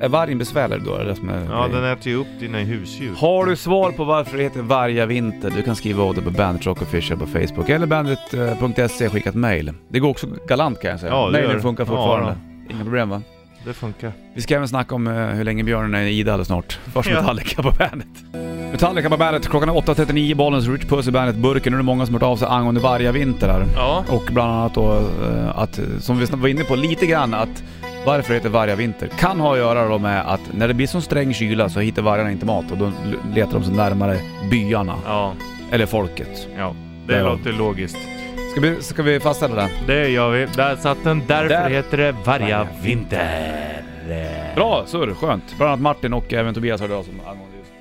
A: Är vargen besvärlig då? Är det det som är
B: Ja,
A: grejen?
B: den äter ju upp dina husdjur.
A: Har du svar på varför det heter varja vinter? Du kan skriva av det på Bandit Rock Official på Facebook eller eh, bandit.se skicka ett mail. Det går också galant kan jag säga.
B: Ja, det gör
A: Mailen
B: det.
A: funkar
B: Ja,
A: fortfarande. Inga problem va?
B: Det funkar.
A: Vi ska även snacka om eh, hur länge björnen är i Ida alldeles snart. Först
B: Ja.
A: Metallica på bandet. Metallica på bandet, klockan är 8.39, Bollens Rich Puss i bandet Burken. Nu är det många som hört av sig angående varje vinter här.
B: Ja.
A: Och bland annat då eh, att, som vi var inne på lite grann, att varför det heter varje vinter kan ha att göra då med att när det blir så sträng kyla så hittar vargarna inte mat och då l- letar de sig närmare byarna,
B: Ja.
A: eller folket.
B: Ja. Det
A: Där har-
B: låter logiskt.
A: Ska vi, ska vi fastställa det?
B: Det gör vi. Där satt den. Därför
A: Där-
B: heter det Varga
A: Varga
B: vinter.
A: Bra surr, skönt. Bland annat Martin och även Tobias hörde av sig om- angående just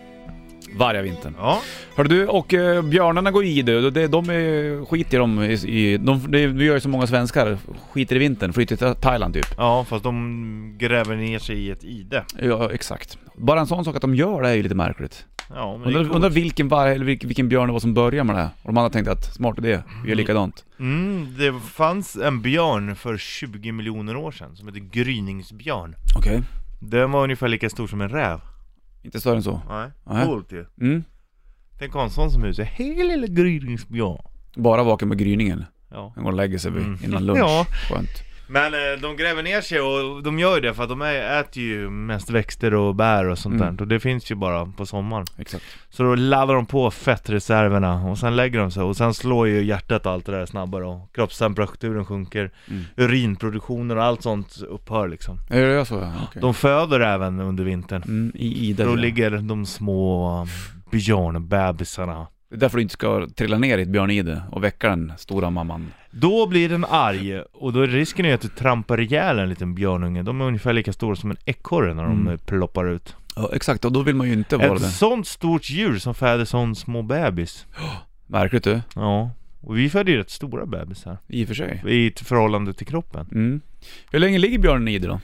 A: varje vintern.
B: Ja.
A: Hör du, och eh, björnarna går i det. De, de är, skiter i dem i... i de, det gör ju som många svenskar, skiter i vintern, flyttar till Thailand typ.
B: Ja, fast de gräver ner sig i ett ide.
A: Ja, exakt. Bara en sån sak att de gör det är ju lite märkligt.
B: Ja, men det är
A: Undrar
B: coolt.
A: undrar vilken, varg, eller vilken, vilken björn det var som började med det här. Och de andra tänkte att, smart idé, vi gör likadant.
B: Mm, det fanns en björn för 20 miljoner år sedan som hette gryningsbjörn.
A: Okej.
B: Den var ungefär lika stor som en räv.
A: Inte större än så.
B: Nej,
A: Nej.
B: coolt ju.
A: Mm.
B: Tänk att ha en sån som husar. Hej lilla gryningsbjörn.
A: Bara vaken med gryningen.
B: Ja.
A: Han går och lägger sig vid,
B: Mm.
A: innan lunch.
B: Ja.
A: Skönt.
B: Men eh, de gräver ner sig och de gör ju det för att de är- äter ju mest växter och bär och sånt
A: Mm.
B: där. Och det finns ju bara på sommaren.
A: Exakt.
B: Så då laddar de på fettreserverna och sen lägger de sig och sen slår ju hjärtat och allt det där snabbare och kroppstemperaturen sjunker.
A: Mm.
B: Urinproduktionen och allt sånt upphör liksom.
A: Är det så? ja? Okej.
B: De föder även under vintern.
A: Mm, I Ida.
B: Då
A: ja.
B: ligger de små um, björnbebisarna.
A: Det är därför du inte ska trilla ner i ett björnide och väcka den stora mamman.
B: Då blir den arg och då är risken ju att du trampar ihjäl en liten björnunge. De är ungefär lika stora som en ekorre när de
A: Mm.
B: eh, ploppar ut.
A: Ja, exakt. Och då vill man ju inte vara
B: Ett
A: det.
B: sånt stort djur som föder sån små bebis.
A: Märkligt du.
B: Ja. Och vi föder ju rätt stora bebisar
A: I och för sig.
B: i ett förhållande till kroppen.
A: Mm. Hur länge ligger björnen i det då?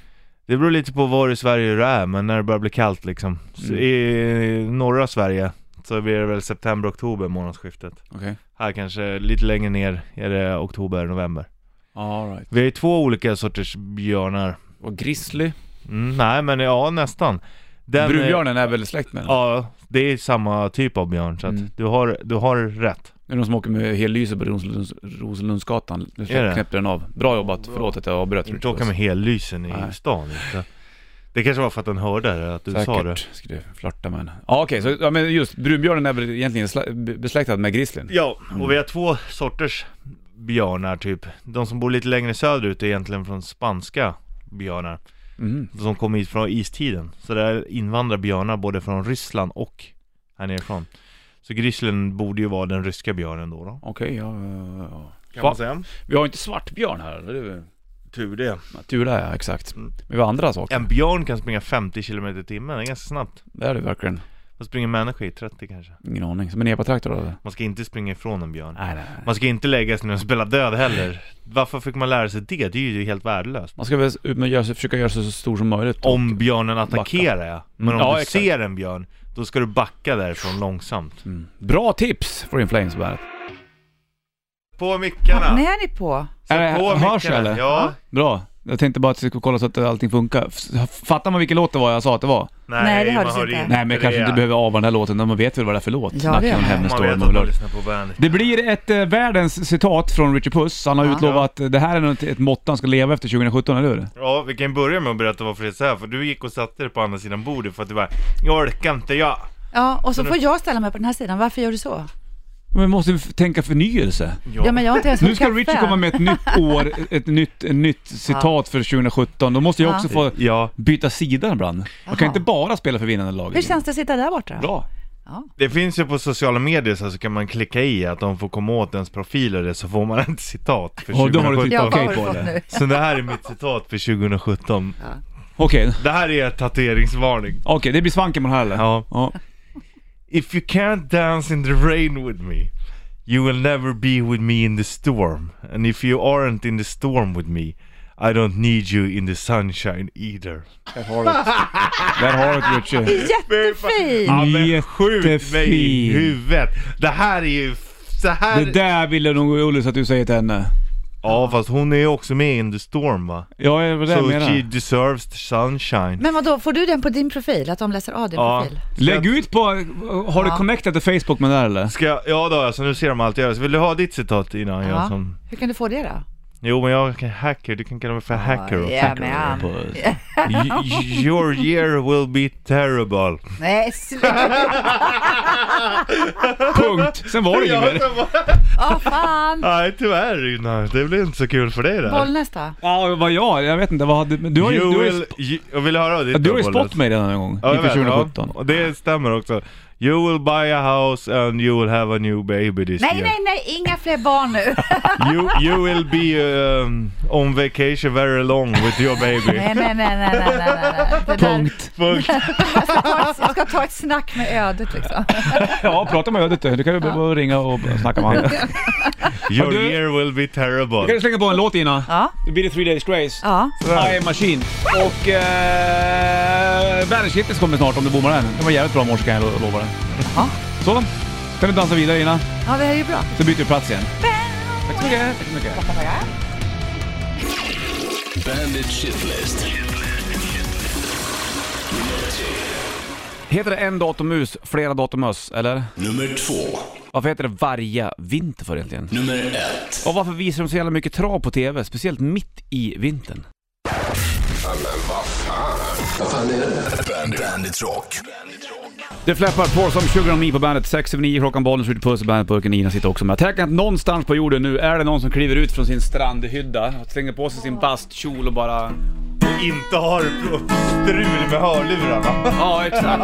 B: Det beror lite på var i Sverige du är, men när det börjar bli kallt liksom. Så
A: Mm.
B: I norra Sverige så blir det väl september, oktober månadsskiftet.
A: Okej.
B: Här kanske lite längre ner är det oktober, november.
A: All right.
B: Vi har ju två olika sorters björnar.
A: Och grizzly?
B: Mm, nej men ja, nästan. Den, eh,
A: Brunbjörnen är väl släkt med den?
B: Ja, det är samma typ av björn så att
A: Mm.
B: du, har, du har rätt.
A: Det är de som åker med hellyse på Rosenlunds, Rosenlundsgatan. Nu
B: Är det?
A: knäppte den av. Bra jobbat. Förlåt att jag avbröt.
B: Inte åka med hellysen i
A: Nej.
B: stan inte. Det kanske var för att den hörde det, att du sa det.
A: Säkert. Skulle flörta med henne. Ja okej, så ja, men just brunbjörnen är väl egentligen slä- be- besläktad med grizzlyn?
B: Ja, och vi har två sorters björnar typ. De som bor lite längre söderut är egentligen från spanska björnar.
A: Mhm.
B: Som kom hit från istiden. Så där invandrar björnar både från Ryssland och här nerifrån. Så grizzlyn borde ju vara den ryska björnen då. då.
A: Okej, ja, ja, ja.
B: Kan
A: man
B: säga.
A: Vi har ju inte svartbjörn här. Det är väl-
B: Tur det.
A: Ja, Tur det, ja exakt.
B: Mm.
A: Men vi har andra saker.
B: En björn kan springa 50 km i timmen, det är ganska snabbt.
A: Det är det verkligen.
B: Då springer människor i 30 kanske.
A: Ingen aning. Som en epatraktor eller?
B: Man ska inte springa ifrån en björn.
A: Nej, nej, nej.
B: Man ska inte lägga sig ner och spela död heller. Varför fick man lära sig det? Det är ju helt värdelöst.
A: Man ska väl s- ut med, göra sig, försöka göra sig så stor som möjligt. då.
B: Om björnen attackerar ja. Men om
A: Ja,
B: du
A: exakt.
B: ser en björn, då ska du backa därifrån långsamt.
A: Mm. Bra tips för In Flames på bandet.
B: På mickarna!
E: Nu är ni på.
B: Sätt
A: Är det-
B: på
A: hörs
B: mickarna.
A: eller?
B: Ja.
A: Bra. Jag tänkte bara att vi skulle kolla så att allting funkar. F- Fattar man vilken låt det var jag sa att det var?
E: Nej, det
B: man
E: hördes inte.
A: Nej men jag kanske inte behöver ava den här låten, men man vet väl vad det är för låt?
E: Ja,
A: Snackar
E: det gör
A: om
E: man.
A: Heaven's
B: Man
A: Door,
B: vet
A: man
B: att man
A: vill-
B: lyssnar på bandet.
A: Det blir ett eh, världens citat från Richard Puss. Han har
E: Ja.
A: utlovat, eh, det här är nog ett- ett motto han ska leva efter 2017, eller hur?
B: Ja, vi kan börja med att berätta varför det är så här. För du gick och satte dig på andra sidan bordet för att du bara Jag orkar inte jag.
E: Ja, och så får jag ställa mig på den här sidan. Varför gör du så?
A: Men vi måste ju f- tänka förnyelse.
E: Ja, men jag har inte ens
A: Nu
E: fått
A: ska
E: kaffe.
A: Richard komma med ett nytt år, ett nytt, ett nytt citat för 2017. Då måste jag också
E: Ja.
A: få
B: Ja,
A: byta sida ibland. Man kan
E: Jaha.
A: inte bara spela för vinnande lag.
E: Hur känns det att sitta där borta?
A: Bra.
B: det finns ju på sociala medier så, här, så kan man klicka i att de får komma åt ens profil och det så får man ett citat för
A: Ja, då har du
B: 2017.
A: tittat
E: Ja, vad
A: okej
E: har du
A: på
E: fått
A: det.
E: nu?
B: Så det här är mitt citat för 2017.
A: Okej,
B: Det här är tatueringsvarning.
A: okej, det blir svanken på den här eller?
B: Ja.
A: ja.
B: If you can't dance in the rain with me, you will never be with me in the storm. And if you aren't in the storm with me, I don't need you in the sunshine either.
A: Där har du Där har du det, Richie.
E: Jättefin!
B: Ja, men skjut mig i
A: Jättefin.
B: huvudet! Det här är ju... Så här...
A: Det där ville nog Ullis att du säger till henne.
B: Ja fast hon är ju också med in the storm va?
A: Ja, det var det jag
B: So she
A: menar.
B: deserves the sunshine.
E: Men vadå, får du den på din profil? Att de läser av din
B: Ja.
E: profil?
A: Lägg ut på... Har du
E: Ja.
A: connectat till Facebook med det där eller?
B: Ska jag, ja då alltså nu ser de allt jag gör. Så vill du ha ditt citat innan jag
E: Ja.
B: som...
E: Hur kan du få det då?
B: Jo men jag är hacker, du kan kalla mig för hacker.
E: Ja,
B: Yeah.
E: ja, men han-
A: På-
B: Your year will be terrible.
E: Nej, sluta!
A: Punkt. Sen var det inget mer.
E: Åh fan!
B: Nej tyvärr Ina, det blir inte så kul för dig där.
E: Bollnäs då?
A: Ja, vad jag? Jag vet inte. Vad hade... men Du har ju...
B: You
A: Du har ju,
B: will, you, jag vill höra ditt
A: ja, du har ju
B: då, Bolle.
A: spott mig redan en gång.
B: Ja, jag
A: inför
B: vet,
A: 2017.
B: Ja, och det stämmer också. You will buy a house and you will have a new baby this
E: Nej,
B: year.
E: nej, nej, inga fler barn nu!
B: You, you will be um, on vacation very long with your baby.
E: Nej, nej, nej, nej, nej, nej, nej, nej. Det där,
A: Punkt.
B: Punkt.
E: jag ska ta ett snack med ödet liksom.
A: Ja, prata med ödet du. Du kan ju bara ringa och snacka med honom.
B: Your
A: du-
B: year will be
A: Kan du
B: terrible.
A: slänga på en låt Ina?
E: Ja,
A: Då blir det Three Days Grace.
E: ja.
A: I am Machine. Och eh, Bandage Hitlist kommer snart om du bommar den. Det var jävligt bra morse kan jag lo- lova dig.
E: Ja.
A: Så, kan du dansa vidare Ina,
E: Ja, det här är ju bra.
A: så byter vi plats igen. Tack så mycket. Tack så mycket.
D: Bandit Shitlist.
A: Heter det en datormus, flera datormöss, eller?
D: Nummer två.
A: Varför heter det varje vinter för egentligen?
D: Nummer ett.
A: Och varför visar de så jävla mycket trav på TV? Speciellt mitt i vintern.
D: Bandit, Bandit Rock.
A: Det fläppar på som Sugar on Me på bandet. 6 över 9 klockan, bollen skjuter puss och bandetburken. Ina sitter också med. Tänk att någonstans på jorden nu är det någon som kliver ut från sin strandhydda, slänger på sig sin bastkjol och bara...
B: Inte har strul med hörlurarna.
A: Ja, exakt.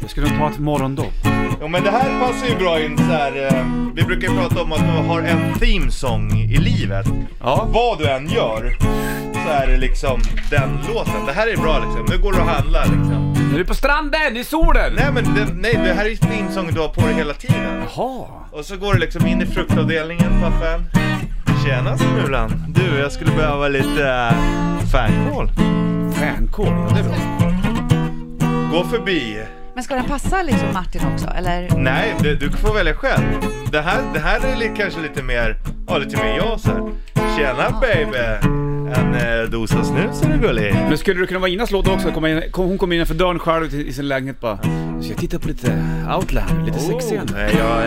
A: Jag skulle nog ta ett morgondopp.
B: Jo men det här passar ju bra in så här. eh, vi brukar ju prata om att man har en themesång i livet.
A: Ja.
B: Vad du än gör så är det liksom den låten. Det här är bra liksom, nu går du och handlar liksom.
A: Nu är du på stranden, i solen!
B: Nej men det, nej, det här är ju themesången du har på dig hela tiden.
A: Jaha.
B: Och så går du liksom in i fruktavdelningen, Faffen. Tjena Smulan! Du, jag skulle behöva lite äh, fänkål.
A: Fänkål, ja det är bra.
B: Gå förbi.
E: Men ska den passa liksom Martin också, eller?
B: Nej, det, du får välja själv. Det här, det här är li, kanske lite mer, ja lite mer jag så här. Tjena baby! En eh, dosa snus är du gullig.
A: Men skulle du kunna vara Inas låt också? Komma in, kom, hon kom in för dörren själv i sin lägenhet bara. Så jag tittar på lite Outland, lite sexiga.
B: Oh, nej, jag,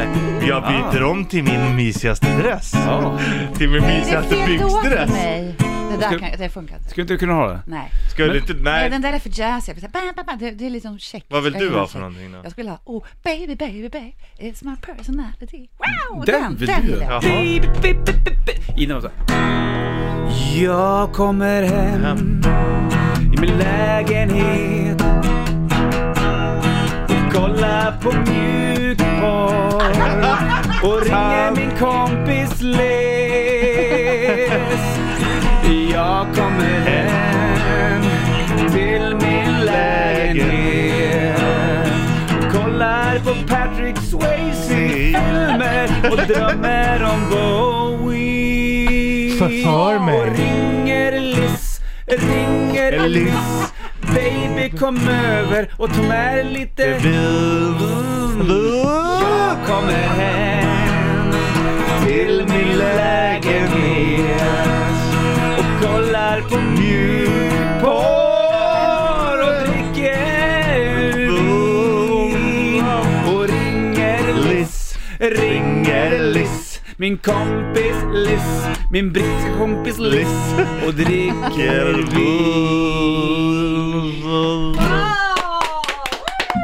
B: jag byter om till min mysigaste dress.
A: Ja.
B: Till min
E: Ah. Det är
B: mysigaste
E: fel låt för
B: byxdress.
E: mig. Det
A: Ska-
E: där kan, det funkar inte.
A: Skulle inte du kunna ha det?
E: Nej.
B: Skulle inte,
E: Nej,
B: nej.
E: den där är för jazz. Jag vill säga, bam, bam, bam. Det, det är liksom check.
B: Vad vill
E: Jag
B: du
E: gillar
B: ha för
E: check.
B: någonting då?
E: Jag skulle ha Oh baby baby baby It's my personality Wow!
A: Den vill du
E: vill
A: ha.
E: jag.
B: Jaha.
A: Innan var så här. Jag kommer hem
B: Hem.
A: i min lägenhet och kollar på mjukporr och ringer min kompis Les. Jag kommer hem till min lägenhet kollar på Patrick Swayze-filmer och drömmer om Bowie.
B: Förför mig.
A: Och ringer Liz, ringer
B: Liz.
A: Liz. Baby kom över och ta med lite jag kommer hem till min lägenhet och kollar på mjukporr och dricker vin och ringer Liz, ringer Liz min kompis Liz, min brittiska kompis Liz och dricker vin
E: Ah!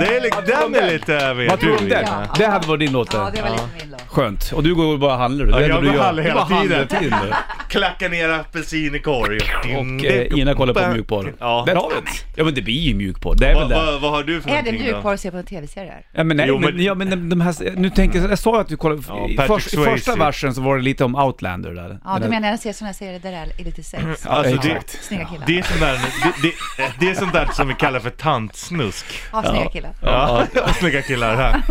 B: Det är liksom, den är lite mer
A: Vad tror du om den?
E: Ja.
A: Det hade varit din låt eh?
E: Ja,
A: där.
E: det var lite min låt.
A: Skönt. Och du går och bara handlar du. Det
B: Ja,
A: är det
B: jag
A: du
B: går
A: gör.
B: handlar hela
A: Du bara handlar
B: tiden.
A: till det.
B: Klacka ner apelsin i korg.
A: Och eh, Ina kollar på mjukporr.
B: Ja.
A: Där har vi det. Ja men det blir ju mjukporr. Det är
B: Vad
A: väl det.
B: vad- vad har du för
E: Är det
B: någonting
E: mjukporr att se på en tv-serie?
A: Ja men nej,
B: Jo,
A: men,
B: men-
A: ja, men de, de här, nu tänker jag, jag sa ju att du kollade,
B: Ja,
A: i,
B: Patrick
A: först, i första
B: Swayze.
A: versen så var det lite om Outlander där.
E: Ja, du
A: Den-
E: menar jag ser såna serier där det är lite sex?
A: Ja,
B: Alltså, det-
A: exakt.
E: Snygga killar.
B: Det är, sånt där, det, det, det är sånt där som vi kallar för tantsnusk.
E: Ja, snygga killar.
B: Ja. Snygga killar här.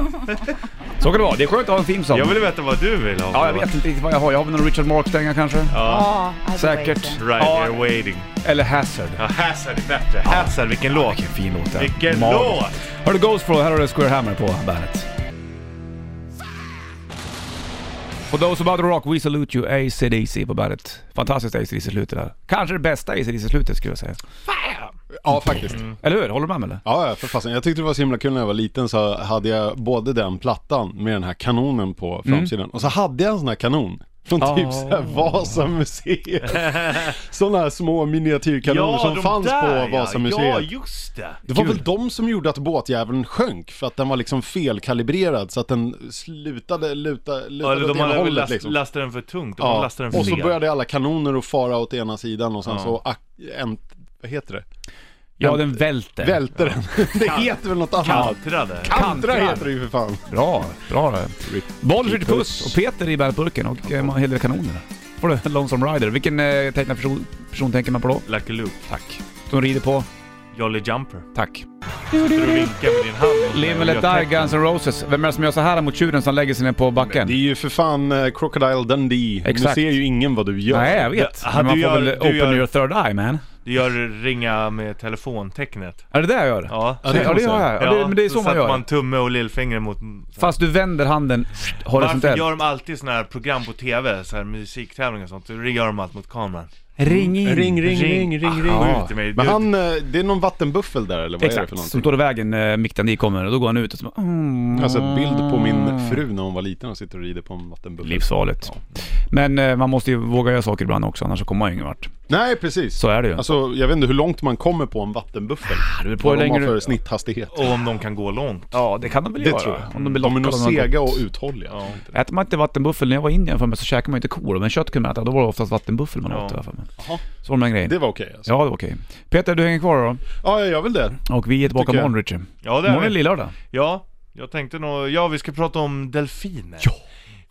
A: Så kan det vara, det är skönt att ha en theme song.
B: Jag vill veta vad du vill ha.
A: Ja jag vet inte riktigt vad jag har, jag har väl någon Richard Mark-dänga kanske?
E: Ja, alltså, I'll be
A: Säkert.
E: waiting.
B: Right
A: Ja.
B: here waiting.
A: Eller Hazard.
B: Ja, Hazard är bättre. Hazard, vilken låt.
A: Vilken fin låt det är.
B: Vilken
A: Magisk.
B: låt!
A: Hör du Ghost Flow, här har du Square Hammer på bandet. For those about to rock, we salute you ACDC på bandet. Fantastiskt ACDC-slutet där. Kanske det bästa ACDC-slutet skulle jag säga.
F: Ja, faktiskt.
B: Mm.
A: Eller hur? Håller du med mig eller?
F: Ja, ja, för fasen. Jag tyckte det var så himla kul när jag var liten så hade jag både den plattan med den här kanonen på
B: Mm.
F: framsidan och så hade jag en sån här kanon. Från typ så här Vasamuseet. Sådana här små miniatyrkanoner som
B: de
F: fanns
B: där,
F: på Vasamuseet.
B: Ja, just det.
F: Det var väl de som gjorde att båtjäveln sjönk för att den var liksom felkalibrerad så att den slutade luta, lutade
B: Eller
F: åt
B: de
F: ena
B: hade väl
F: hållet
B: last,
F: liksom.
B: lastat den för tungt. De
F: ja.
B: ja. lastade den för
F: och så
B: fel.
F: började alla kanoner att fara åt ena sidan och sen så, ak- en, vad heter det?
A: Ja, den välter.
F: Välte den. Det heter väl något annat?
B: Kantrade.
F: Kantra
A: Kantrad.
F: heter det ju för fan.
A: Bra, bra det.
F: Rip-
A: Boll,
F: Rip-
A: skjuter puss och Peter i bandetburken och eh, en hel del kanoner. Får du Lonesome Rider. Vilken eh, tecknad person, person tänker man på då?
B: Lucky Luke.
A: Tack. Som rider på?
B: Jolly Jumper.
A: Tack.
B: Du vinkar med din hand.
A: Live and let die, Guns N' Roses. Vem är det som gör så här mot tjuren som lägger sig ner på backen?
F: Det är ju för fan eh, Crocodile Dundee.
A: Exakt.
F: Nu ser ju ingen vad du gör.
A: Nej, jag vet.
B: Ja,
A: Men man
B: du
A: får
B: gör-
A: väl
B: du
A: open
B: gör-
A: your third eye man.
B: Du gör ringa med telefontecknet.
A: Är det det jag gör?
B: Ja.
F: Ja, det
A: Ja,
F: kan
A: det
F: man
A: gör
F: säga.
A: jag. Ja, det, men det är så, man
B: satte
A: gör.
B: man tumme och lillfinger mot...
A: Fast du vänder handen
B: Varför
A: horisontellt.
B: gör de alltid såna här program på TV, så här musiktävlingar och sånt? Då gör de allt mot kameran.
A: Ring in.
F: Mm. Ring, ring, ring, ring, ring.
A: Aha.
B: Skjuter mig.
F: Men
B: Du-
F: han, eh, det är någon vattenbuffel där eller vad är det för
A: Exakt, som
F: någonting?
A: står i vägen när Mick kommer och då går han ut och så bara, mm.
F: Jag har sett Alltså, bild på
A: Ah.
F: min fru när hon var liten och sitter och rider på en vattenbuffel.
A: Livsfarligt. Men eh, man måste ju våga göra saker ibland också, annars så kommer man ju ingen vart.
F: Nej, precis.
A: Så är det ju.
F: Alltså, jag vet inte hur långt man kommer på en vattenbuffel.
A: det beror på
F: Vad
A: hur
F: de har
A: länge
F: för
A: du...
F: snitthastighet.
B: Och om de kan gå långt.
A: Ja, det kan de väl
F: Det
A: göra.
F: tror jag.
A: Om de blir
F: De är
A: lockade
F: nog
A: av något
F: sega
A: gott.
F: och uthålliga.
B: Ja.
A: Äter man inte vattenbuffel, när jag var i Indien för mig så käkade man ju inte kor, men kött kunde man äta. Då var det oftast vattenbuffel man
B: Ja.
A: åt i alla fall.
F: Jaha.
A: Så var det den grejen.
F: Det var okej alltså.
A: Ja, det var okej. Peter, du hänger kvar då.
F: Ja, jag gör väl det.
A: Och vi är tillbaka
F: Tycker jag.
A: imorgon Richie.
B: Ja, det är
A: Imorgon är
B: vi.
A: lillördag.
B: Ja, jag tänkte nog, ja vi ska prata om delfiner. Ja.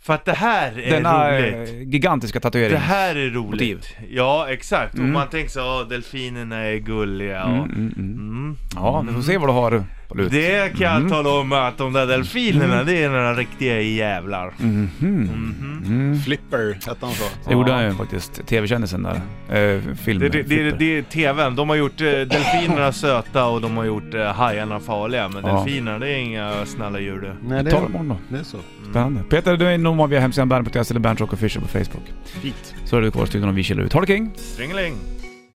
B: För att det här är
A: Denna
B: roligt.
A: eh, gigantiska
B: Det
A: tatuering.
B: här är roligt.
A: Motiv.
B: Ja, exakt. Och man tänker så, ja, delfinerna är gulliga och...
A: Mm, mm, mm.
B: Mm.
A: Ja, vi får se vad du har på lut.
B: Det kan jag tala om att de där
A: Mm.
B: delfinerna, det är några riktiga jävlar.
F: Flipper hette han så.
A: Det gjorde han ju faktiskt, tv-kändisen där. Eh,
B: Det,
A: filmen.
B: det, det, det är tvn. De har gjort eh, delfinerna söta och de har gjort eh, hajarna farliga. Men
A: Ja.
B: delfinerna, det är inga snälla djur du.
F: Nej,
A: Vi tar det imorgon då.
F: det är så.
A: Spännande. Peter, du är normal via hemsidan bandrock.se eller bandrock official på Facebook.
F: Fint.
A: Så är du kvar i studion om vi kilar ut. Ha det king!
B: Stringeling!